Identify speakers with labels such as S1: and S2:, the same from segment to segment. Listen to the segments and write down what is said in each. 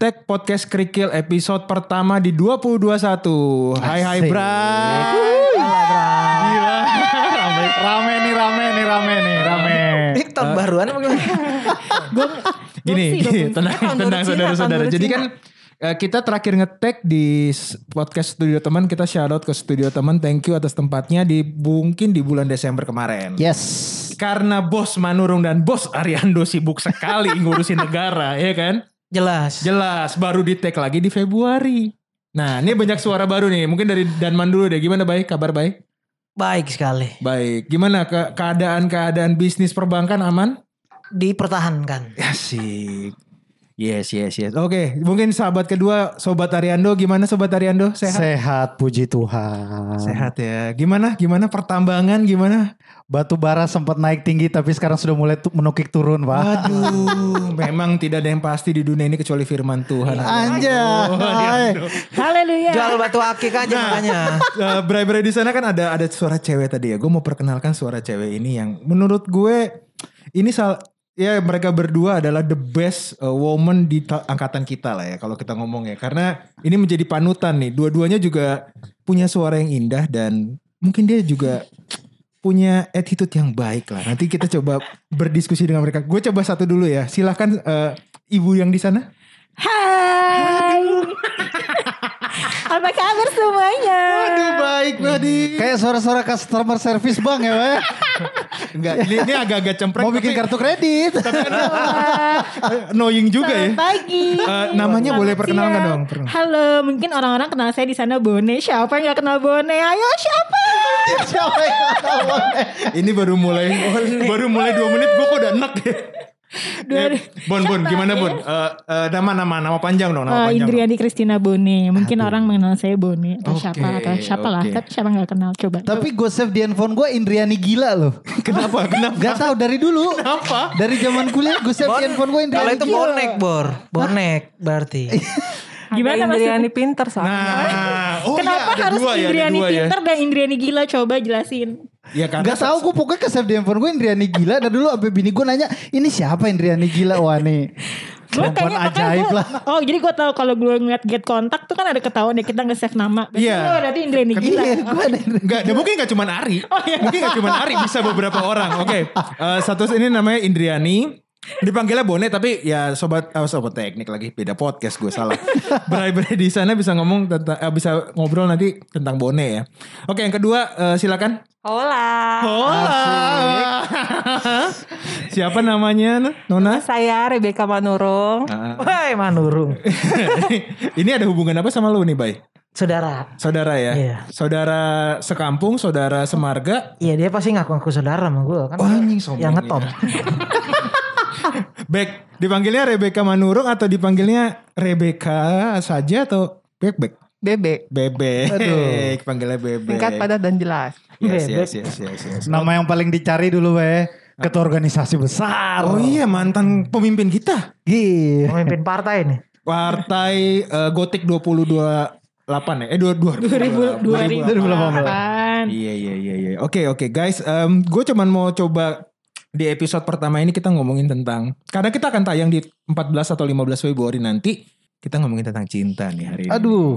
S1: Tag Podcast Kerikil episode pertama di 2021. Hai hai
S2: Asik.
S1: bra.
S2: Gila, Bra.
S1: Gila. Rame, rame nih rame nih rame nih rame.
S2: Ini tahun baruan apa gimana?
S1: Gini, tenang
S3: Tahun baru
S1: tenang
S3: Cina,
S1: saudara-saudara.
S3: tahun baru
S1: Jadi
S3: Cina.
S1: kan eh, kita terakhir ngetek di s- podcast studio teman kita shout out ke studio teman thank you atas tempatnya di mungkin di bulan Desember kemarin.
S2: Yes.
S1: Karena bos Manurung dan bos Ariando sibuk sekali ngurusin negara, ya kan?
S2: Jelas.
S1: Jelas, baru di tag lagi di Februari. Nah, ini banyak suara baru nih. Mungkin dari Danman dulu deh. Gimana baik? Kabar baik?
S2: Baik sekali.
S1: Baik. Gimana ke- keadaan-keadaan bisnis perbankan aman?
S2: Dipertahankan.
S1: Asik. Ya, Yes, yes, yes. Oke, mungkin sahabat kedua, Sobat Ariando. Gimana Sobat Ariando? Sehat?
S4: Sehat puji Tuhan.
S1: Sehat ya. Gimana? Gimana pertambangan? Gimana?
S4: Batu bara sempat naik tinggi tapi sekarang sudah mulai tu- menukik turun, Pak.
S1: Aduh, memang tidak ada yang pasti di dunia ini kecuali firman Tuhan.
S4: Anjay.
S5: Iya.
S3: Haleluya.
S2: Jual batu akik aja makanya.
S1: Eh, Bray-bray di sana kan ada ada suara cewek tadi ya. Gue mau perkenalkan suara cewek ini yang menurut gue ini sal ya mereka berdua adalah the best eh, woman di ta- angkatan kita lah ya kalau kita ngomong ya. Karena ini menjadi panutan nih. Dua-duanya juga punya suara yang indah dan mungkin dia juga punya attitude yang baik lah. Nanti kita coba berdiskusi dengan mereka. Gue coba satu dulu ya. Silahkan eh, ibu yang di sana.
S3: Hai. Apa kabar semuanya?
S1: Aduh baik Badi.
S4: Kayak suara-suara customer service Bang ya, Pak.
S1: Enggak, ini, ini agak-agak cempreng.
S4: Mau bikin
S1: tapi-
S4: kartu kredit.
S3: Wah,
S1: annoying juga ya.
S3: Selamat pagi.
S1: Eh, namanya
S3: Selamat
S1: boleh perkenalkan
S3: siang.
S1: dong, perkenalkan.
S3: Halo, mungkin orang-orang kenal saya di sana Bone. Siapa yang gak kenal Bone? Ayo siapa?
S4: Siapa yang tahu?
S1: Ini baru mulai baru mulai 2 menit gue kok udah enak ya.
S3: Dua-
S1: Eh, Bon Bon
S3: Siapa?
S1: gimana Bon?
S3: Iya.
S1: Eh, eh, nama nama nama panjang dong, nama
S3: Eh,
S1: panjang. dong.
S3: Indriani Christina Bone. Mungkin orang mengenal saya Bone atau
S1: Oke,
S3: siapa atau siapa lah.
S1: oke.
S3: Tapi siapa nggak kenal? Coba.
S4: Tapi gue save di handphone gue Indriani gila loh.
S1: Kenapa? Kenapa?
S4: Gak tahu dari dulu.
S1: Kenapa?
S4: Dari zaman kuliah gue save
S2: Bon,
S4: di handphone gue
S2: kalau
S4: Indriani
S2: itu
S4: gila.
S2: bonek, Bor. Bonek berarti.
S3: Gimana maksudnya?
S5: Indriani pinter soalnya.
S1: Nah, oh
S3: Kenapa
S1: iya, ada
S3: harus
S1: dua ya, ada
S3: Indriani
S1: dua ya.
S3: pinter dan Indriani gila? Coba jelasin.
S1: Ya karena
S4: Gak tau gue pokoknya ke save di handphone gue Indriani gila Dan dulu sampai bini gue nanya Ini siapa Indriani gila Wah nih
S3: Gue
S4: Perempuan ajaib lah
S3: Oh jadi gue tahu kalau gue ngeliat get kontak tuh kan ada ketahuan ya kita nge-save nama. Berarti
S1: Iya.
S3: lo berarti Indriani gila.
S4: Iya gue ada Indriani
S1: Enggak, dan mungkin gak cuman Ari.
S3: Oh, iya.
S1: Mungkin gak cuman Ari, bisa beberapa orang. Oke, eh, satu ini namanya Indriani. Dipanggilnya Bone tapi ya sobat eh, sobat teknik lagi beda podcast gue salah. Berai-berai di sana bisa ngomong tentang eh, bisa ngobrol nanti tentang Bone ya. Oke, yang kedua eh, silakan.
S5: Hola.
S1: Hola. Siapa namanya? Nona?
S5: Saya Rebecca Manurung.
S2: Woi, Manurung.
S1: ini ada hubungan apa sama lu nih, Bay?
S2: Saudara.
S1: Saudara ya?
S2: Iya.
S1: Saudara sekampung, saudara semarga.
S2: Iya, dia pasti ngaku-ngaku saudara sama gue kan.
S1: Anjing sombong
S2: yang
S1: ini.
S2: ngetop.
S1: Back dipanggilnya Rebecca Manurung atau dipanggilnya Rebecca saja atau Bek Bek
S5: Bebe.
S1: Bebek
S4: Aduh.
S1: panggilnya Bebek
S5: Singkat, padat, dan jelas.
S1: yes,
S2: Bebek. Nah,
S1: yes, yes, yes, yes.
S4: Nama yang paling dicari dulu weh Ketua organisasi besar
S1: Oh iya mantan pemimpin kita
S4: Gih
S2: Pemimpin partai nih.
S1: Partai eh, Gotik 228 ya Eh 22
S3: 2000
S2: Kan?
S3: 2008.
S1: Iya iya iya iya. Oke oke guys, gue cuman mau coba di episode pertama ini kita ngomongin tentang karena kita akan tayang di 14 atau 15 Februari nanti kita ngomongin tentang cinta nih hari ini.
S4: Aduh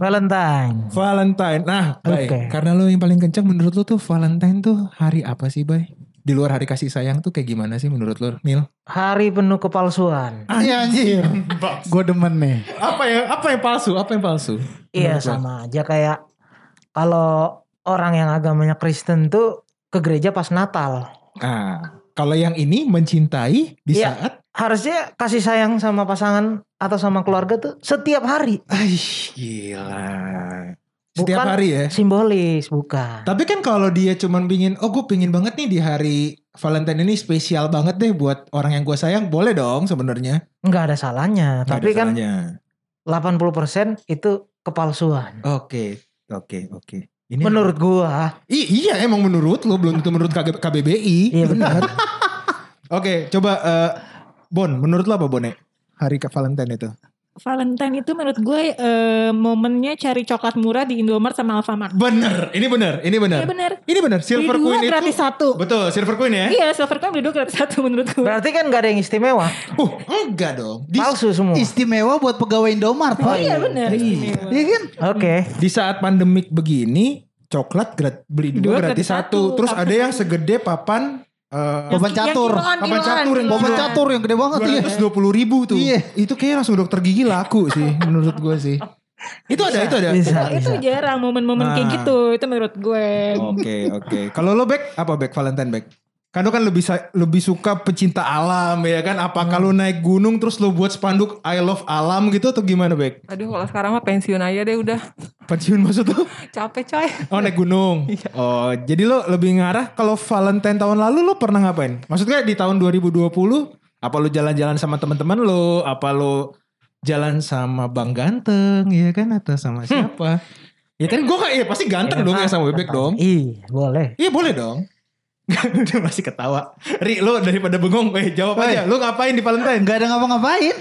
S2: Valentine.
S1: Valentine. Nah, Bay,
S2: Oke.
S1: karena lo yang paling kencang menurut lo tuh Valentine tuh hari apa sih, Bay? Di luar hari kasih sayang tuh kayak gimana sih menurut lo, Nil?
S2: Hari penuh kepalsuan.
S4: Iya anjir Gue demen nih
S1: Apa yang apa yang palsu? Apa yang palsu? Menurut
S2: Iya
S1: lo?
S2: sama aja kayak kalau orang yang agamanya Kristen tuh ke gereja pas Natal.
S1: Ah, kalau yang ini mencintai di
S2: Iya.
S1: saat
S2: Harusnya kasih sayang sama pasangan atau sama keluarga tuh setiap hari.
S1: Aish, gila. Setiap
S2: Bukan-
S1: hari ya.
S2: Simbolis bukan.
S1: Tapi kan kalau dia cuman pingin, oh gue pingin banget nih di hari Valentine ini spesial banget deh buat orang yang gue sayang, boleh dong sebenarnya.
S2: nggak ada salahnya.
S1: Nggak
S2: Tapi
S1: ada
S2: kan
S1: salahnya.
S2: 80% itu kepalsuan.
S1: oke, oke, oke. Ini
S2: Menurut gua.
S1: I- iya emang menurut lo belum tentu menurut KG- KBBI.
S2: Iya benar.
S1: ya? Oke, coba eh, Bon, menurut lo apa Bone? Hari ke Valentine itu.
S3: Valentine itu menurut gue eh, momennya cari coklat murah di Indomaret sama Alfamart.
S1: Bener, ini bener, ini bener.
S3: Iya bener.
S1: Ini bener,
S3: Beli
S1: Silver
S3: dua
S1: Queen itu.
S3: gratis satu.
S1: Betul, Silver Queen ya.
S3: Iya, silver coin beli dua gratis satu menurut gue.
S2: Berarti kan gak ada yang istimewa.
S1: Uh, enggak dong. Di,
S2: Palsu semua. Oke.
S4: Istimewa buat pegawai Indomaret.
S1: Oh,
S4: Pak.
S3: iya bener. istimewa.
S4: Iya kan?
S1: di saat pandemik begini, coklat grat- beli dua, gratis, satu. Terus ada yang segede papan eh
S4: Papan catur.
S3: kiloan,
S1: Papan
S3: kiloan,
S1: catur yang
S4: Papan
S3: kiloan.
S4: catur yang gede banget. Iya.
S1: 220 ribu tuh.
S4: Iya.
S1: Itu kayaknya langsung dokter gigi laku sih menurut gue sih. Itu ada, itu ada.
S2: Bisa,
S3: Iya, Itu
S2: bisa.
S3: jarang momen-momen kayak
S1: Iya. Nah.
S3: gitu. Itu menurut gue.
S1: Oke oke. Kalau lo back apa back Valentine back? Kan lo kan lebih sa- lebih suka pecinta alam ya kan? Apa kalau naik gunung terus lo buat spanduk I love alam gitu atau gimana back?
S5: Aduh kalau sekarang mah pensiun aja deh udah
S1: Pensiun maksud lo?
S5: capek coy.
S1: Oh naik gunung. Oh jadi lo lebih ngarah kalau Valentine tahun lalu lo pernah ngapain? Maksudnya di tahun 2020 apa lo jalan-jalan sama teman-teman lo? Apa lo jalan sama Bang Ganteng ya kan atau sama siapa? Ya kan gue kayak ya pasti ganteng dong ya sama bebek dong.
S2: Iya, boleh.
S1: Iya boleh dong. Udah masih ketawa. Ri lo daripada bengong, eh jawab aja. Lo ngapain di Valentine?
S4: Gak ada ngapa-ngapain.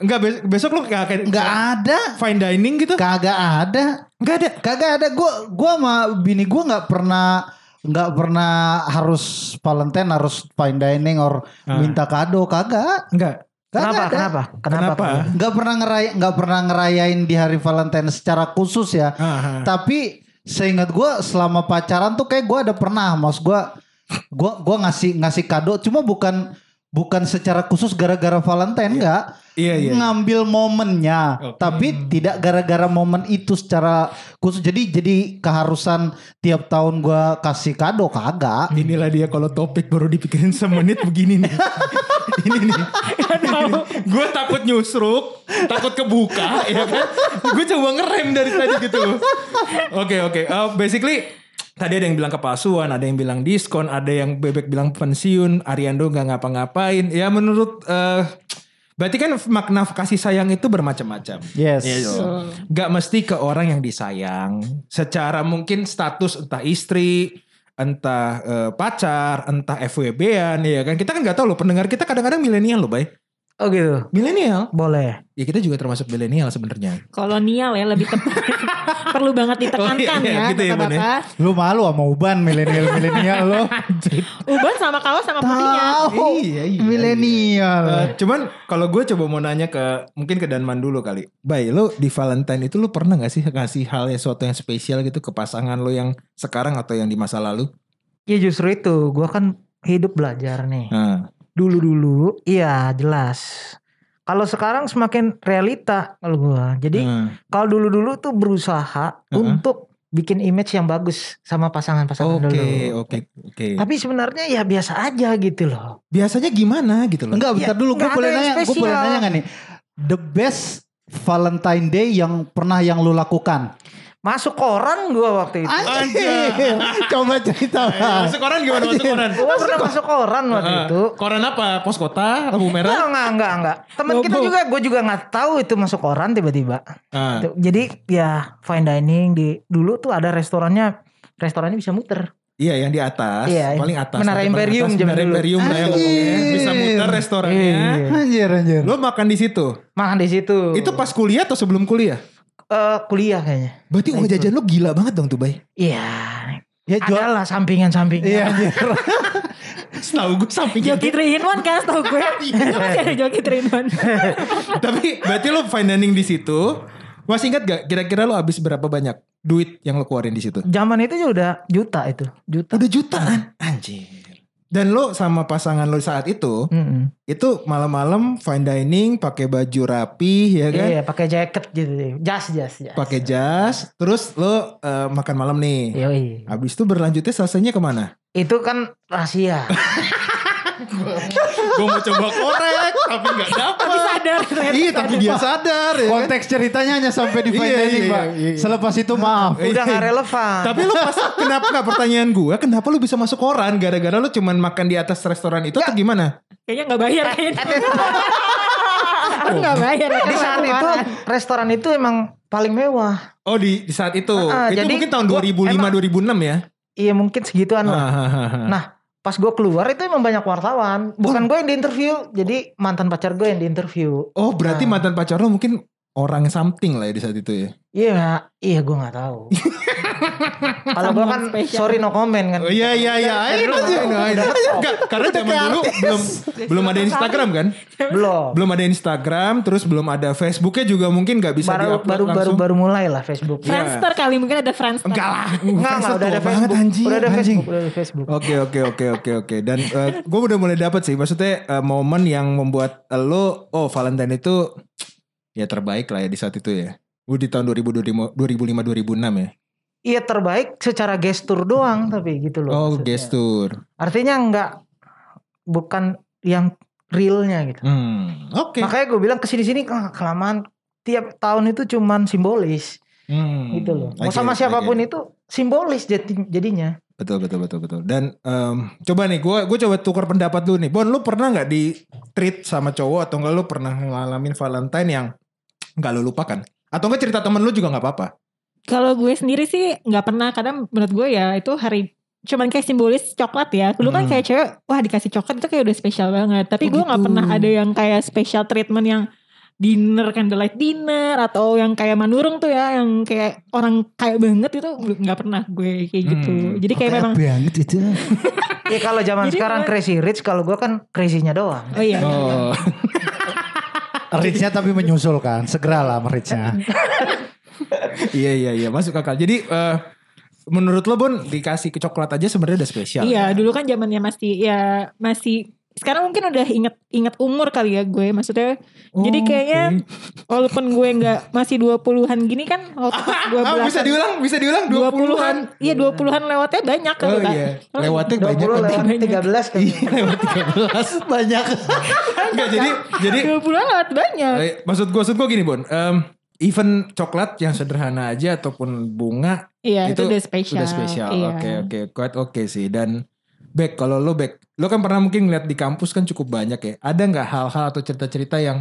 S1: Enggak bes- besok lo gak akan
S4: Gak ada.
S1: fine dining gitu?
S4: Kagak ada.
S1: Enggak ada.
S4: Kagak ada. Gue gua sama bini gue nggak pernah nggak pernah harus Valentine harus fine dining or
S1: Ah.
S4: minta kado kagak.
S1: Enggak.
S4: Kagak
S2: Kenapa?
S4: ada.
S2: Kenapa? Kenapa?
S1: Kenapa?
S4: Nggak pernah ngeray nggak pernah ngerayain di hari Valentine secara khusus ya.
S1: Aha.
S4: Tapi seingat gue selama pacaran tuh kayak gue ada pernah, mas gue gue gua ngasih ngasih kado, cuma bukan bukan secara khusus gara-gara Valentine enggak
S1: Iya iya.
S4: ngambil momennya,
S1: Oke.
S4: tapi tidak gara-gara momen itu secara khusus. Jadi jadi keharusan tiap tahun gue kasih kado kagak.
S1: Inilah dia kalau topik baru dipikirin semenit begini nih. Ini nih. Gue takut nyusruk, takut kebuka ya kan. Gue coba ngerem dari tadi gitu. Oke oke. Eh, basically tadi ada yang bilang kepalsuan, ada yang bilang diskon, ada yang bebek bilang pensiun, Ariando nggak ngapa-ngapain. Ya menurut eh berarti kan makna kasih sayang itu bermacam-macam.
S4: Yes.
S1: Gak mesti ke orang yang disayang. Secara mungkin status entah istri, entah eh, pacar, entah FWB-an ya kan. Kita kan gak tahu loh pendengar kita kadang-kadang milenial loh, Bay.
S2: Oh gitu.
S1: Milenial.
S2: Boleh.
S1: Ya kita juga termasuk milenial sebenarnya.
S3: Kolonial ya lebih tepat. Perlu banget ditekankan
S1: Oh, iya, iya,
S3: ya
S1: gitu ya, Bun, ya.
S3: bapak-bapak.
S4: Lu malu sama uban milenial-milenial lo.
S3: Uban sama kaos sama putihnya.
S4: Tahu.
S1: Iya, iya,
S4: Milenial.
S1: Eh, cuman kalau gue coba mau nanya ke mungkin ke Danman dulu kali. Bay, lo di Valentine itu lo pernah gak sih ngasih hal yang sesuatu yang spesial gitu ke pasangan lo yang sekarang atau yang di masa lalu?
S2: Ya justru itu. Gue kan hidup belajar nih.
S1: Nah,
S2: Dulu-dulu. Iya jelas. Kalau sekarang semakin realita kalau gue. Jadi
S1: nah.
S2: kalau dulu-dulu tuh berusaha
S1: Uh-uh.
S2: untuk bikin image yang bagus sama pasangan-pasangan dulu.
S1: Oke, oke, oke.
S2: Tapi sebenarnya ya biasa aja gitu loh.
S1: Biasanya gimana gitu loh?
S4: Enggak, bentar
S2: Ya,
S4: dulu. Gue
S2: nggak
S4: boleh
S2: ada yang
S4: nanya, gue boleh
S2: spesial.
S4: nanya gak nih? The best Valentine Day yang pernah yang lu lakukan.
S2: Masuk koran gua waktu itu.
S4: Anjir. Coba cerita. Bang.
S1: masuk Eh, koran gimana masuk koran?
S2: Gua pernah masuk koran waktu
S1: Heeh.
S2: itu.
S1: Koran apa? Pos kota, lampu merah.
S2: Enggak, enggak, enggak, enggak. Temen kita
S1: Bobo.
S2: juga, gue juga nggak tahu itu masuk koran tiba-tiba.
S1: Ah,
S2: Tuh, Jadi ya fine dining di dulu tuh ada restorannya, restorannya bisa muter.
S1: iya yang di atas,
S2: Iya,
S1: paling atas.
S2: Menara
S1: nanti paling
S2: Imperium
S1: atas,
S2: zaman
S1: Menara
S2: dulu.
S1: Imperium lah ya yang ngomongnya.
S4: Anjir.
S1: bisa muter restorannya.
S2: Iya.
S4: Anjir, anjir.
S1: Lo makan di situ.
S2: Makan di situ.
S1: Itu pas kuliah atau sebelum kuliah?
S2: Eh, kuliah kayaknya.
S1: Berarti uang jajan lo gila banget dong tuh, Bay.
S2: Iya.
S4: Ya, jual-
S2: Adalah sampingan-sampingan.
S4: Iya, anjir.
S1: Setahu gitu. gue sampingnya.
S3: Joki 3 in 1 kan setau gue. Masih ada joki 3 in 1.
S1: Tapi berarti lo fine dining di situ. Masih ingat gak kira-kira lo habis berapa banyak duit yang lo keluarin di situ?
S2: Zaman itu juga udah juta itu, juta.
S1: Udah jutaan. Ah, Anjir. Dan lo sama pasangan lo saat itu,
S2: Mm-mm.
S1: itu malam-malam fine dining pakai baju rapi ya kan
S2: Iya, pakai jaket gitu, jas, jas, jas.
S1: pakai jas terus lo eh, makan malam nih
S2: Yoi.
S1: habis itu berlanjutnya selesainya kemana
S2: Itu kan rahasia.
S1: gue mau coba korek tapi nggak
S3: Tapi
S1: dapet
S3: sadar. ternyata.
S1: iya tapi dia sadar ya kan?
S4: Konteks ceritanya hanya sampai di fine
S1: Iya,
S4: dining,
S1: iya,
S4: Pak.
S1: iya, iya.
S4: Selepas itu maaf.
S2: Udah nggak relevan.
S1: tapi lo pas kenapa nggak pertanyaan gue kenapa lo bisa masuk koran gara-gara lo cuman makan di atas restoran itu atau gimana
S3: Kayaknya gak bayar kayaknya. Aku gak bayar. ya,
S2: di
S3: kan,
S2: saat itu
S3: orang.
S2: restoran itu emang paling mewah.
S1: oh di, di saat itu
S2: Ah,
S1: itu
S2: jadi
S1: mungkin tahun
S2: gua-
S1: 2005 2006 ya
S2: Iya mungkin segituan
S1: Ah.
S2: lah.
S1: Hahaha.
S2: Nah, pas gue keluar itu emang banyak wartawan. Bukan gue yang diinterview, jadi mantan pacar gue yang diinterview.
S1: Oh berarti mantan pacar lo mungkin orang something lah ya di saat itu ya.
S2: Iya, iya gue nggak tahu. Kalau gue kan
S3: Someone special.
S2: sorry no comment kan.
S1: Oh iya iya iya, ayo aja, ayo aja. Enggak, karena zaman dulu belum belum ada Instagram kan?
S2: Belum.
S1: Belum ada Instagram, terus belum ada Facebooknya juga mungkin nggak bisa
S2: baru
S1: di-upload
S2: baru baru
S1: langsung.
S2: baru mulai lah Facebook.
S1: Iya.
S3: Friendster kali mungkin ada Friendster.
S1: Enggak lah,
S2: Enggak, enggak,
S1: Facebook
S2: udah ada
S1: tua banget,
S2: Facebook.
S1: anjing,
S2: udah ada
S1: anjing.
S2: Facebook, udah ada Facebook.
S1: Oke oke oke oke oke dan gue udah mulai dapat sih maksudnya eh, momen yang membuat lo oh Valentine itu ya terbaik lah ya di saat itu ya. Gue di tahun 2005 2006 ya.
S2: Iya terbaik secara gestur doang tapi gitu loh.
S1: Oh
S2: maksudnya.
S1: gestur.
S2: Artinya enggak bukan yang realnya gitu.
S1: Hmm oke.
S2: Makanya gue bilang kesini sini kelamaan tiap tahun itu cuman simbolis
S1: Hmm,
S2: gitu loh.
S1: I
S2: Mau
S1: get it, I
S2: sama
S1: get
S2: siapapun
S1: it.
S2: itu simbolis jadi- jadinya.
S1: Betul betul betul betul. Dan em, coba nih gue gue coba tukar pendapat lu nih. Bon lu pernah nggak di treat sama cowok atau nggak lu pernah ngalamin Valentine yang nggak lu lupakan? Atau nggak cerita temen lu juga nggak apa-apa?
S3: Kalau gue sendiri sih nggak pernah kadang menurut gue ya itu hari cuman kayak simbolis coklat ya. Dulu
S1: Hmm.
S3: kan kayak cewek wah dikasih coklat itu kayak udah spesial banget. Tapi
S1: Oh,
S3: gue nggak
S1: gitu.
S3: pernah ada yang kayak special treatment yang dinner candlelight dinner atau yang kayak manurung tuh ya yang kayak orang kaya banget itu nggak pernah gue kayak gitu.
S1: Hmm.
S3: Jadi kayak memang
S4: banget itu.
S2: Ya kalau zaman
S3: Jadi
S2: sekarang
S3: gue-
S2: crazy rich kalau gue kan crazy-nya doang.
S3: oh iya.
S1: Oh.
S4: Richnya tapi menyusul kan, segeralah Richnya.
S1: iya iya iya masuk akal. Jadi eh, menurut lo Bon dikasih ke coklat aja sebenarnya udah spesial.
S3: Iya, dulu kan zamannya masih ya masih sekarang mungkin udah inget inget umur kali ya gue maksudnya. jadi kayaknya walaupun gue nggak masih 20-an gini kan waktu pas gue
S1: Ah, bisa
S3: belasan
S1: diulang, bisa diulang
S3: 20-an.
S1: 20-an.
S3: Iya, 20-an lewatnya banyak kan, kali
S1: Oh
S3: Kak.
S1: iya.
S3: Terus
S1: Lewatnya banyak.
S2: 20 lewat
S3: Banyak.
S2: 13 kan.
S1: Iya, lewat 13 banyak. Enggak jadi jadi
S3: 20-an lewat banyak.
S1: eh, maksud gua maksud gua gini Bon. Em, even coklat yang sederhana aja ataupun bunga
S3: Iya,
S1: itu
S3: itu, udah spesial.
S1: udah spesial.
S3: Iya.
S1: Oke oke, kuat oke sih dan Back, kalau lo back, lo kan pernah mungkin ngeliat di kampus kan cukup banyak ya. Ada nggak hal-hal atau cerita-cerita yang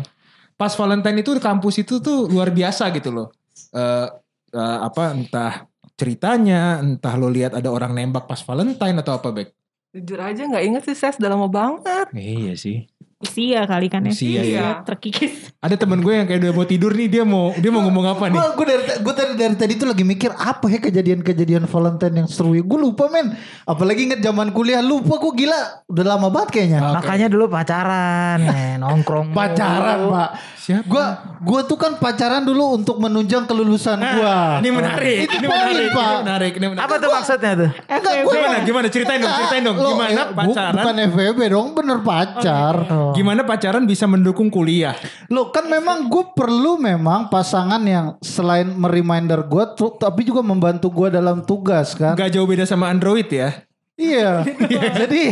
S1: pas Valentine itu di kampus itu tuh luar biasa gitu loh. Eh eh, apa entah ceritanya, entah lo lihat ada orang nembak pas Valentine atau apa back?
S5: Jujur aja nggak inget sih ses udah lama banget.
S1: Iya sih.
S3: Usia kali kan ya.
S1: Usia,
S5: iya.
S3: Terkikis.
S1: Ada temen gue yang kayak udah mau tidur nih, dia mau dia mau ngomong apa nih?
S4: Gue gue dari gue tadi dari tadi tuh lagi mikir apa ya kejadian-kejadian Valentine yang seru ya. Gue lupa men. Apalagi inget zaman kuliah lupa gue gila. Udah lama banget kayaknya.
S1: Oke.
S2: Makanya dulu pacaran, eh, nongkrong. mulu.
S4: Pacaran pak.
S1: Siapa?
S4: Gue gue tuh kan pacaran dulu untuk menunjang kelulusan gue.
S1: Nah, Ah, Ini menarik.
S4: Itu
S1: ini
S4: poin,
S1: menarik.
S4: Pak.
S1: Ini menarik. Ini menarik.
S2: Apa tuh maksudnya tuh?
S3: FWB.
S1: Gimana? Gimana? Ceritain dong. Ceritain dong.
S4: Ah, Lo,
S1: Gimana
S4: eh, bu-
S1: pacaran? Oh, iya.
S4: Bukan FWB dong, bener pacar.
S1: Gimana pacaran bisa mendukung kuliah?
S4: Lo kan memang gue perlu memang pasangan yang selain mereminder gue, tu- tapi juga membantu gue dalam tugas kan.
S1: Gak jauh beda sama Android ya.
S4: Iya. jadi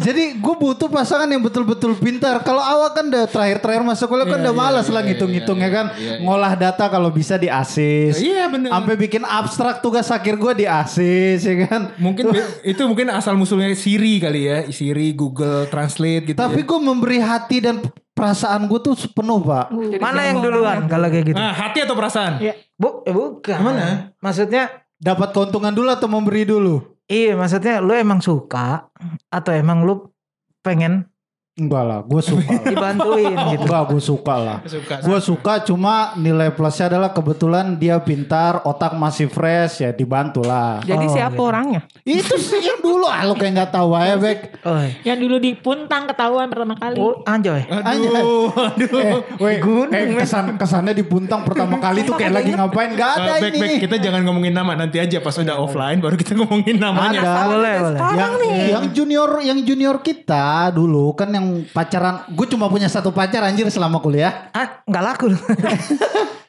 S4: jadi gue butuh pasangan yang betul-betul pintar. Kalau awak kan udah terakhir-terakhir masuk kuliah
S1: Iya,
S4: kan udah
S1: iya,
S4: malas
S1: iya,
S4: lah
S1: iya,
S4: ngitung-ngitungnya
S1: iya,
S4: kan.
S1: iya, iya.
S4: Ngolah data kalau bisa di asis.
S1: Iya bener.
S4: Sampai bikin abstrak tugas akhir gue di asis ya kan.
S1: mungkin be- itu mungkin asal musulnya Siri kali ya, Siri, Google Translate gitu. ya.
S4: Tapi gue memberi hati dan perasaan gue tuh penuh pak.
S1: Oh.
S2: Mana yang duluan kalau kayak gitu?
S1: Nah, hati atau perasaan?
S3: Ya,
S2: Bu, eh, bukan. Mana? Maksudnya
S4: Dapat keuntungan dulu atau memberi dulu?
S2: iya, maksudnya lu emang suka atau emang lu pengen
S4: Enggak lah, gue suka. lah.
S2: dibantuin gitu.
S4: Enggak, gue suka lah.
S1: Oh. Suka.
S4: Gue suka cuma nilai plusnya adalah kebetulan dia pintar, otak masih fresh ya dibantu lah.
S5: Jadi
S2: Oh,
S1: iya.
S5: siapa
S2: gitu.
S5: orangnya?
S4: Itu sih yang dulu ah lu kayak nggak tahu aja Bek.
S2: Oi.
S3: yang dulu di Puntang ketahuan pertama kali.
S2: Oh, anjoy.
S1: Aduh, aduh.
S4: Eh, weh, eh, kesan kesannya di Puntang pertama kali tuh kayak lagi ngapain? Gak ada
S1: Eh, back, back,
S4: ini.
S1: kita jangan ngomongin nama nanti aja pas udah offline baru kita ngomongin namanya.
S4: Ada.
S2: Boleh, boleh.
S4: Yang, yang junior yang junior kita dulu kan yang pacaran, gue cuma punya satu pacar anjir selama kuliah.
S2: Ah, enggak laku.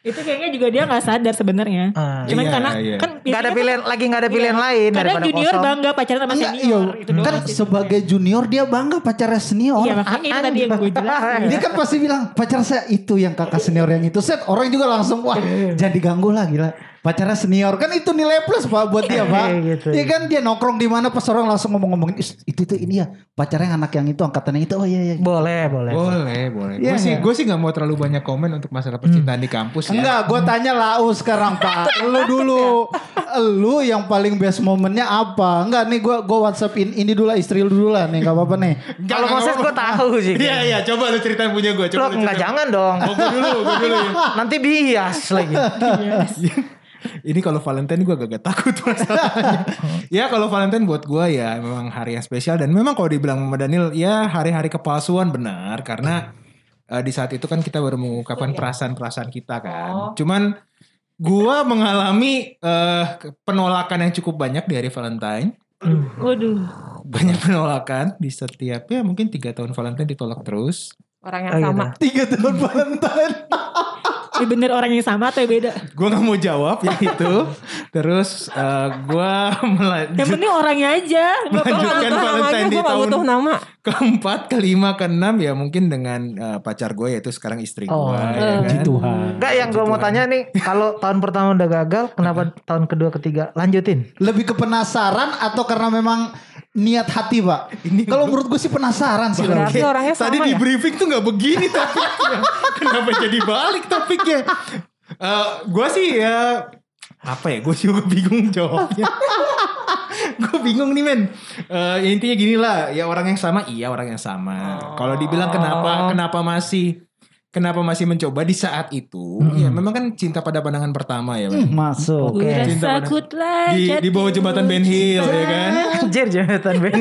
S3: Itu kayaknya juga dia nggak sadar sebenarnya.
S2: Ah.
S3: Cuman
S1: Iya,
S3: karena
S1: iya.
S3: kan
S2: Enggak ada
S3: biasanya
S2: pilihan lagi enggak ada pilihan lain
S3: Kadang
S2: daripada
S3: junior
S2: kosong.
S3: bangga pacaran sama
S4: Enggak, iya.
S3: senior. itu doang
S4: kan
S3: sih.
S4: sebagai junior dia bangga pacarnya senior.
S3: Iya makanya itu tadi yang gue jelasin.
S2: Iya.
S4: Dia kan
S2: Iya.
S4: pasti bilang pacar saya itu yang kakak senior yang itu set orang juga langsung wah jangan diganggu lah gila. pacarnya senior kan itu nilai plus pak buat
S2: Iya,
S4: dia pak
S2: gitu.
S4: Iya kan dia nongkrong di mana pas orang langsung ngomong-ngomongin "Is, itu tuh ini ya pacarnya anak yang itu angkatannya itu oh iya iya
S2: Boleh, boleh.
S1: Boleh, boleh.
S4: Iya,
S1: gue sih
S4: iya.
S1: gue sih nggak mau terlalu banyak komen untuk masalah percintaan di kampus ya.
S4: Enggak, gue tanya lau sekarang pak. Lu dulu, lu yang paling best momennya apa? Enggak nih, gue gue WhatsAppin ini dulu lah, istri lu dulu lah nih, nggak apa-apa nih.
S1: Enggak,
S2: Kalau
S1: enggak
S2: proses
S1: apa-apa.
S2: gue tahu sih.
S1: Iya iya, coba lu ceritain punya gue.
S2: Lo
S1: Coba lu
S2: nggak
S1: ceritain.
S2: jangan dong.
S1: Oh, gua dulu, gue dulu. ya.
S2: Nanti bias lagi.
S1: Ini kalau Valentine gue agak takut masalahnya. ya kalau Valentine buat gue ya memang hari yang spesial dan memang kalau dibilang sama Daniel ya hari-hari kepalsuan benar karena
S4: Hmm.
S1: eh, di saat itu kan kita baru
S4: Iya.
S1: mengungkapkan perasaan-perasaan kita kan.
S4: Oh.
S1: Cuman gue mengalami eh, ke- penolakan yang cukup banyak di hari Valentine.
S3: Waduh.
S1: Banyak penolakan di setiap ya mungkin tiga tahun Valentine ditolak terus.
S5: Orang yang
S2: Oh, gitu.
S5: sama.
S4: Tiga tahun Valentine.
S3: Ini bener orang yang sama atau yang beda?
S1: Gue nggak mau jawab yang itu. terus eh, gue
S3: Yang
S1: melanjut
S3: penting orangnya aja. Nggak
S5: Gua nggak
S1: Lanjutkan
S5: butuh namanya,
S1: Valentine di
S5: gue gak
S1: tahun-
S5: butuh nama.
S1: keempat, kelima, keenam ya mungkin dengan eh, pacar gue yaitu sekarang istri gue.
S2: Oh,
S1: ya kan?
S4: Tuhan.
S2: Enggak yang gue mau tanya nih, kalau tahun pertama udah gagal, kenapa tahun kedua ketiga lanjutin?
S4: Lebih ke penasaran atau karena memang niat hati pak? Kalau menurut gue sih penasaran sih. Lau.
S5: Berarti orangnya sama
S1: Tadi di
S5: ya?
S1: briefing tuh nggak begini topiknya. Kenapa jadi balik topiknya? Eh gue sih ya apa ya? Gue juga bingung jawabnya. gue bingung nih men. Eh, ya intinya gini lah, ya orang yang sama, iya orang yang sama. Kalau dibilang kenapa, kenapa masih, kenapa masih mencoba di saat itu? Ya memang kan cinta pada pandangan pertama ya.
S4: Hmm, Mm.
S1: men.
S2: Masuk.
S3: Ku
S2: Oke.
S1: Cinta
S3: rasa
S1: pada-
S3: ku telah
S1: Di, di bawah
S3: jatuh
S1: jembatan Ben Hill ya kan.
S2: Anjir jabatan Ben.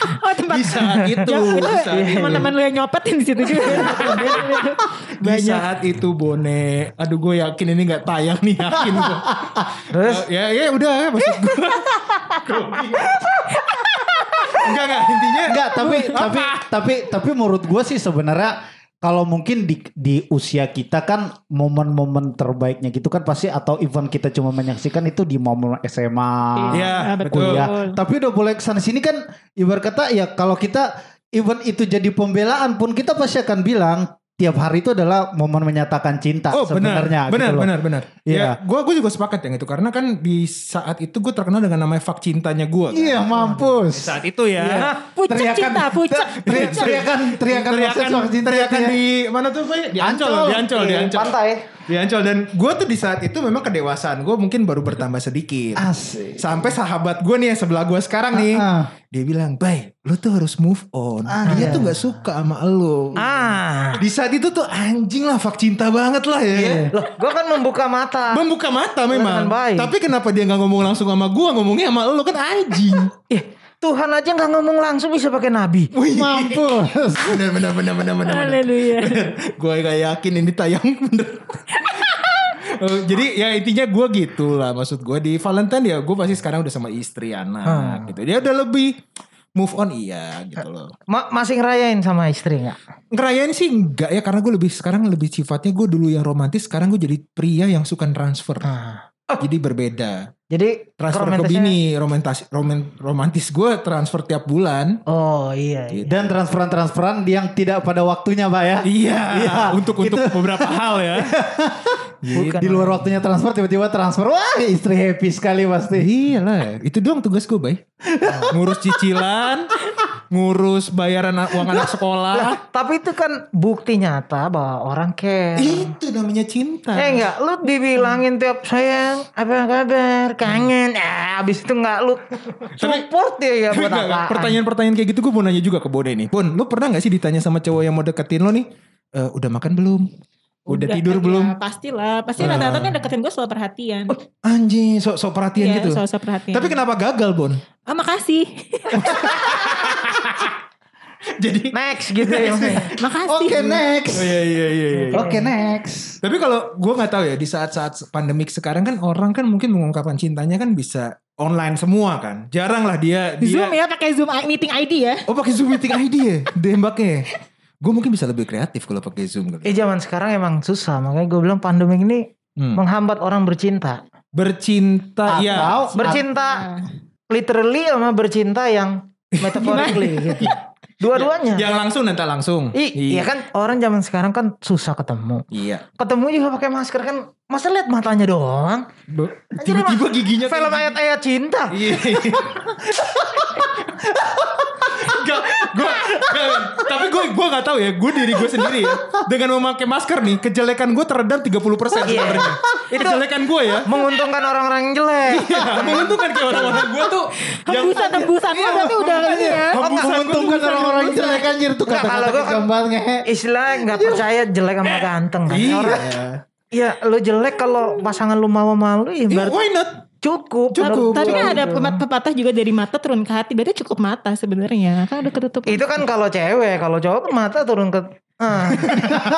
S3: Oh tempat
S1: Di saat itu,
S3: Ya,
S1: di saat
S3: itu
S1: itu.
S3: teman-teman lu yang nyopetin di situ juga.
S1: Di saat itu Bone, aduh gue yakin ini nggak tayang nih yakin gue.
S2: Terus?
S1: Eh, ya ya udah ya maksud gue. Grogi. enggak enggak intinya
S4: Enggak, tapi tapi tapi tapi menurut gue sih sebenarnya kalau mungkin di di usia kita kan momen-momen terbaiknya gitu kan pasti atau event kita cuma menyaksikan itu di momen SMA.
S1: Iya,
S3: Ah,
S1: betul.
S4: kuliah. Tapi udah boleh kesana sini kan ibarat kata ya kalau kita event itu jadi pembelaan pun kita pasti akan bilang tiap hari itu adalah momen menyatakan cinta
S1: Oh benar,
S4: sebenarnya. gitu
S1: benar,
S4: loh.
S1: benar, benar.
S4: Iya.
S1: Ya, gue gue juga sepakat yang itu karena kan di saat itu gue terkenal dengan namanya fak cintanya gue. Kan?
S4: Iya mampus.
S1: Saat itu ya.
S3: Pucet cinta, pucet.
S4: Teriakan, teriakan, teriakan,
S1: teriakan,
S4: proses cinta,
S1: teriakan
S4: ya.
S1: di mana tuh Pak? Di Ancol, di Ancol, di
S4: Iya,
S1: Ancol.
S4: Pantai.
S1: Di Ancol dan gue tuh di saat itu memang kedewasaan gue mungkin baru bertambah sedikit.
S4: Asik.
S1: Sampai sahabat gue nih yang sebelah gue sekarang nih.
S4: Ah.
S1: Dia bilang, Bay, lu tuh harus move on.
S4: Ah.
S1: Dia tuh gak suka sama lu.
S2: Ah.
S1: Di saat itu tuh anjing lah, fak cinta banget lah ya.
S4: Iya.
S2: Loh, gue kan membuka mata.
S1: Membuka mata memang.
S2: Dengan baik.
S1: Tapi kenapa dia gak ngomong langsung sama gue, ngomongnya sama lu kan anjing.
S2: Ih, Tuhan aja nggak ngomong langsung bisa pakai nabi.
S4: Mampus.
S1: bener, bener, bener, bener, bener. bener.
S3: Haleluya.
S1: gue gak yakin ini tayang bener. Eh, Jadi ya intinya gue gitu lah maksud gue di Valentine ya gue pasti sekarang udah sama istri anak gitu. Dia udah lebih move on iya gitu loh.
S2: Ma- masih ngerayain sama istri nggak?
S1: Ngerayain sih enggak ya karena gue lebih sekarang lebih sifatnya gue dulu yang romantis sekarang gue jadi pria yang suka transfer. Jadi berbeda.
S2: Jadi
S1: Ah, Transfer ke
S2: romantisnya-
S1: bini, romantis, roman- romantis gue transfer tiap bulan.
S2: Oh iya.
S1: Gitu.
S2: iya.
S4: Dan transferan-transferan yang tidak pada waktunya pak ya.
S1: Iya,
S4: Iya,
S1: untuk untuk beberapa hal ya.
S2: Bukan.
S4: Di luar waktunya transfer tiba-tiba transfer. Wah istri happy sekali pasti.
S1: Iya lah, itu doang tugas gue, Bay. ngurus cicilan, ngurus bayaran a- uang anak sekolah.
S2: Tapi itu kan bukti nyata bahwa orang care.
S1: itu namanya cinta.
S2: Eh enggak, lu dibilangin tiap sayang, apa kabar,
S1: Hmm.
S2: kangen, ah abis itu enggak lu support dia ya buat
S1: Enggak, enggak.
S2: apa?
S1: Pertanyaan-pertanyaan kayak gitu gue mau nanya juga ke Bone nih. Bun, lu pernah gak sih ditanya sama cowok yang mau deketin lo nih? "Eh, udah makan belum? Udah, tidur
S3: ya,
S1: belum? Ah.
S3: Pastilah, pasti rata-rata kan deketin gue soal perhatian.
S1: Anjing, sok sok perhatian
S3: Iya,
S1: gitu.
S3: soal-soal perhatian.
S1: Tapi kenapa gagal, Bon?
S3: Ah, makasih.
S1: Jadi
S2: Next gitu
S1: Iya.
S2: ya. maksudnya.
S3: makasih.
S4: Oke next.
S1: Oh, iya iya iya iya.
S4: Oke next.
S1: Tapi kalau gue nggak tahu ya di saat-saat pandemik sekarang kan orang kan mungkin mengungkapkan cintanya kan bisa online semua kan. Jarang lah dia
S3: Di Zoom
S1: dia
S3: ya pakai Zoom meeting ID ya.
S1: Oh pakai Zoom meeting ID ya Dembaknya Gue mungkin bisa lebih kreatif kalau pakai Zoom kali.
S2: Eh zaman sekarang emang susah, makanya gue bilang pandemi ini
S1: Hmm.
S2: menghambat orang bercinta.
S4: Ah,
S1: Bercinta
S4: iya.
S1: ya.
S4: Atau
S2: Bercinta literally sama bercinta yang metaphorically gitu. Dua-duanya.
S1: Yang langsung dan tak langsung.
S2: I-
S1: Ya.
S2: Iya kan orang zaman sekarang kan susah ketemu.
S1: Iya.
S2: Ketemu juga pakai masker kan. Masa lihat matanya doang?
S1: Be-
S2: Anjir,
S1: Tiba-tiba
S2: emang
S1: giginya tuh-
S2: Film ayat-ayat cinta.
S1: Iya. Gak, gue, tapi gue gue nggak tahu ya, gue diri gue sendiri ya. Dengan memakai masker nih, kejelekan gue teredam 30% sebenarnya.
S2: Iya. Itu-
S1: Kejelekan gue ya.
S2: Menguntungkan orang-orang yang jelek.
S1: Iya, menguntungkan kayak orang-orang gue tuh
S3: Hembusan
S4: Ah,
S3: hembusan
S4: iya,
S3: lo berarti udah ini ya.
S1: Iya, Hembusan gue
S4: Menguntungkan orang-orang jelek anjir tuh
S2: Enggak, kalau
S4: kata-kata
S2: gua kan-
S4: kejam banget ngehe.
S2: Istilah nggak percaya jelek sama ganteng kan.
S1: Iya.
S2: Orang, ya lu jelek kalau pasangan lu mau malu ya
S1: Iya,
S2: berarti
S1: Why not?
S2: cukup.
S1: Cukup.
S3: Tapi kan
S2: Gitu.
S3: ada pemat- pepatah juga dari mata turun ke hati. Berarti cukup mata sebenarnya. Kan udah ketutup.
S2: Itu kan kalau cewek, kalau cowok kan mata turun ke Ah.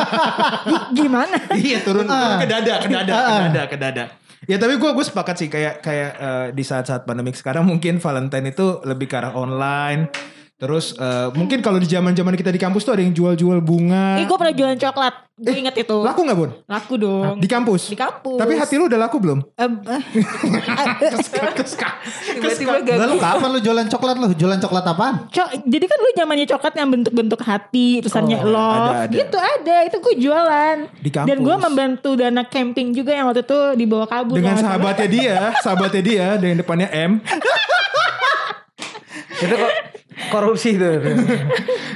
S3: Gi- Gimana?
S1: Iya turun, turun ke dada, ke dada, ke
S4: Ah.
S1: dada, ke dada. Ya tapi gue gue sepakat sih kayak kayak eh, di saat-saat pandemik sekarang mungkin Valentine itu lebih ke arah online. Terus eh, mungkin kalau di zaman-zaman kita di kampus tuh ada yang jual-jual bunga.
S3: Eh gue pernah jualan coklat. Gue inget itu.
S1: Eh, Laku nggak bun?
S3: Laku dong.
S1: Di kampus.
S3: Di kampus.
S1: Tapi hati lu udah laku belum?
S3: Eh, eh,
S5: Tiba-tiba
S4: Lalu
S5: gagal.
S4: kapan lu jualan coklat lu? Jualan coklat apaan?
S3: co- jadi kan lu zamannya coklat yang bentuk-bentuk hati, tulisannya
S1: Oh,
S3: love,
S1: ada, ada.
S3: gitu ada. Itu gue jualan.
S1: Di kampus.
S3: Dan gue membantu dana camping juga yang waktu itu dibawa kabur.
S1: Dengan
S3: kalau nggak salah.
S1: sahabatnya dia, sahabatnya dia dengan depannya M.
S2: Itu kok korupsi itu.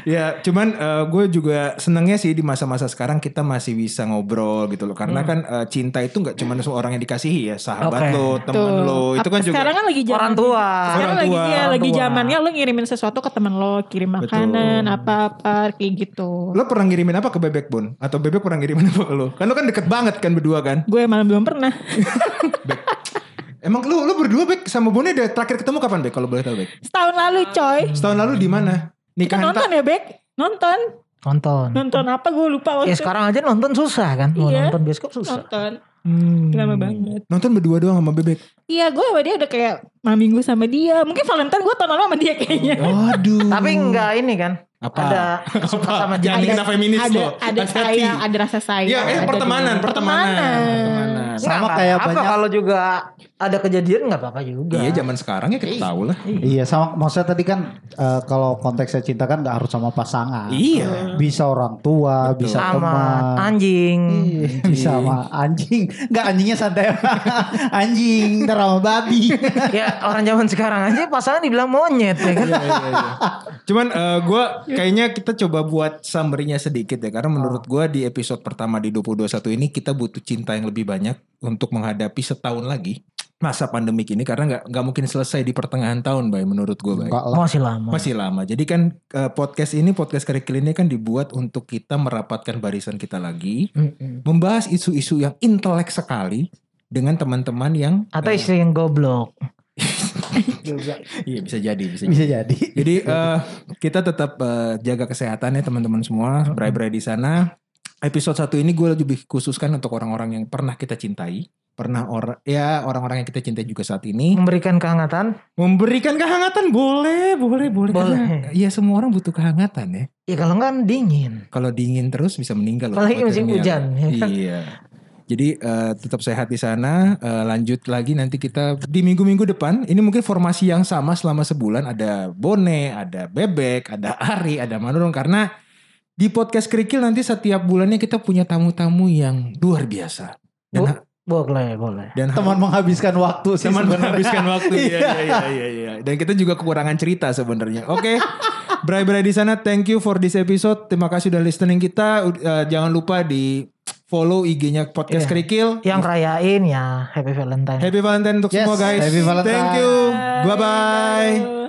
S1: Ya, cuman eh, gue juga senengnya sih di masa-masa sekarang kita masih bisa ngobrol gitu loh.
S3: Hmm.
S1: Karena kan eh, cinta itu nggak cuma seorang yang dikasihi ya, sahabat
S2: Oke.
S1: lo, temen
S3: Betul.
S1: lo, itu kan
S3: Ap-
S1: juga
S3: sekarang kan lagi zaman
S2: Orang tua.
S3: sekarang
S1: Orang
S3: lagi
S1: tua,
S3: ya
S2: orang
S3: lagi
S2: tua.
S3: zamannya lu ngirimin sesuatu ke teman lo kirim makanan apa-apa kayak gitu
S1: Lo pernah ngirimin apa ke Bebek Bun? Atau Bebek pernah ngirimin apa ke lo? Kan lo kan deket banget kan berdua kan?
S3: gue malah belum pernah
S1: Emang lo, lo berdua Bek sama Bunnya udah terakhir ketemu kapan Bek? Kalau boleh tahu Bek?
S3: setahun lalu coy
S1: Setahun lalu di mana? Nikahan
S3: kita nonton
S1: Kan tak?
S3: ya Bek nonton
S2: Nonton.
S3: nonton apa gue lupa
S2: Ya
S3: waktu itu.
S2: sekarang aja nonton susah kan. Mau
S3: Iya.
S2: nonton bioskop susah.
S3: nonton
S1: Hmm.
S3: lama banget
S1: Nonton berdua doang sama Bebek?
S3: iya gue sama dia udah kayak malam minggu sama dia mungkin Valentine gue tahun lalu sama dia kayaknya
S1: Waduh.
S2: Tapi enggak ini kan.
S1: Apa?
S2: Ada suka sama
S1: Jangan
S2: jenis.
S1: bikin feminis
S3: ada
S1: lo.
S3: ada
S1: Hati-hati.
S3: sayang ada rasa sayang
S1: Ya, eh
S3: ada
S1: pertemanan,
S3: juga.
S1: pertemanan. Pertemanan.
S2: Enggak,
S4: Sama
S2: enggak
S4: kayak
S2: apa-apa
S4: banyak-
S2: kalau juga ada kejadian nggak apa-apa juga.
S1: Iya, zaman sekarang ya kita tahu lah.
S4: Iya sama maksudnya tadi kan eh, kalau konteksnya cinta kan nggak harus sama pasangan.
S1: Iya.
S4: Bisa orang tua, bisa
S2: sama
S4: teman.
S2: anjing.
S4: Iya, bisa sama anjing. Nggak anjingnya santai. anjing, ntar sama babi.
S2: ya orang zaman sekarang aja pasangan dibilang monyet ya kan.
S1: Cuman gue kayaknya kita coba buat summary-nya sedikit ya karena menurut gue di episode pertama di 2021 ini kita butuh cinta yang lebih banyak untuk menghadapi setahun lagi masa pandemik ini karena nggak nggak mungkin selesai di pertengahan tahun, Bay menurut gue, Bay.
S4: Enggak lah.
S2: Masih lama.
S1: Masih lama. Jadi kan eh, podcast ini podcast kerikil ini kan dibuat untuk kita merapatkan barisan kita lagi,
S2: Mm-mm.
S1: membahas isu-isu yang intelek sekali dengan teman-teman yang
S2: Atau istri yang goblok.
S1: iya bisa jadi, bisa jadi.
S4: Bisa jadi.
S1: Jadi eh, kita tetap eh, jaga kesehatan ya teman-teman semua, berai-berai di sana. Episode satu ini gue lebih khususkan untuk orang-orang yang pernah kita cintai, pernah orang ya orang-orang yang kita cintai juga saat ini.
S2: Memberikan kehangatan.
S1: Memberikan kehangatan boleh, boleh, boleh.
S2: Boleh.
S1: Karena, ya semua orang butuh kehangatan ya.
S2: Ya kalau enggak kan dingin.
S1: Kalau dingin terus bisa meninggal. loh,
S2: Apalagi musim
S1: hipotermia.
S2: hujan, ya kan?
S1: Iya. Jadi eh, tetap sehat di sana. Eh, lanjut lagi nanti kita di minggu-minggu depan. Ini mungkin formasi yang sama selama sebulan. Ada Bone, ada Bebek, ada Ari, ada Manurung. Karena di podcast Kerikil nanti setiap bulannya kita punya tamu-tamu yang luar biasa. Dan,
S2: Bu- Boleh, boleh.
S1: dan
S4: Teman menghabiskan waktu sih
S1: teman
S4: sebenarnya.
S1: menghabiskan waktu iya iya iya iya, iya. dan kita juga kekurangan cerita sebenarnya oke Bray-bray di sana thank you for this episode terima kasih udah listening kita Ud- eh, jangan lupa di follow IG-nya podcast
S2: Iya.
S1: kerikil
S2: Yang rayain ya Happy Valentine.
S1: happy valentine untuk
S4: Yes,
S1: semua guys
S4: happy Valentine.
S1: thank you bye bye
S3: Bye.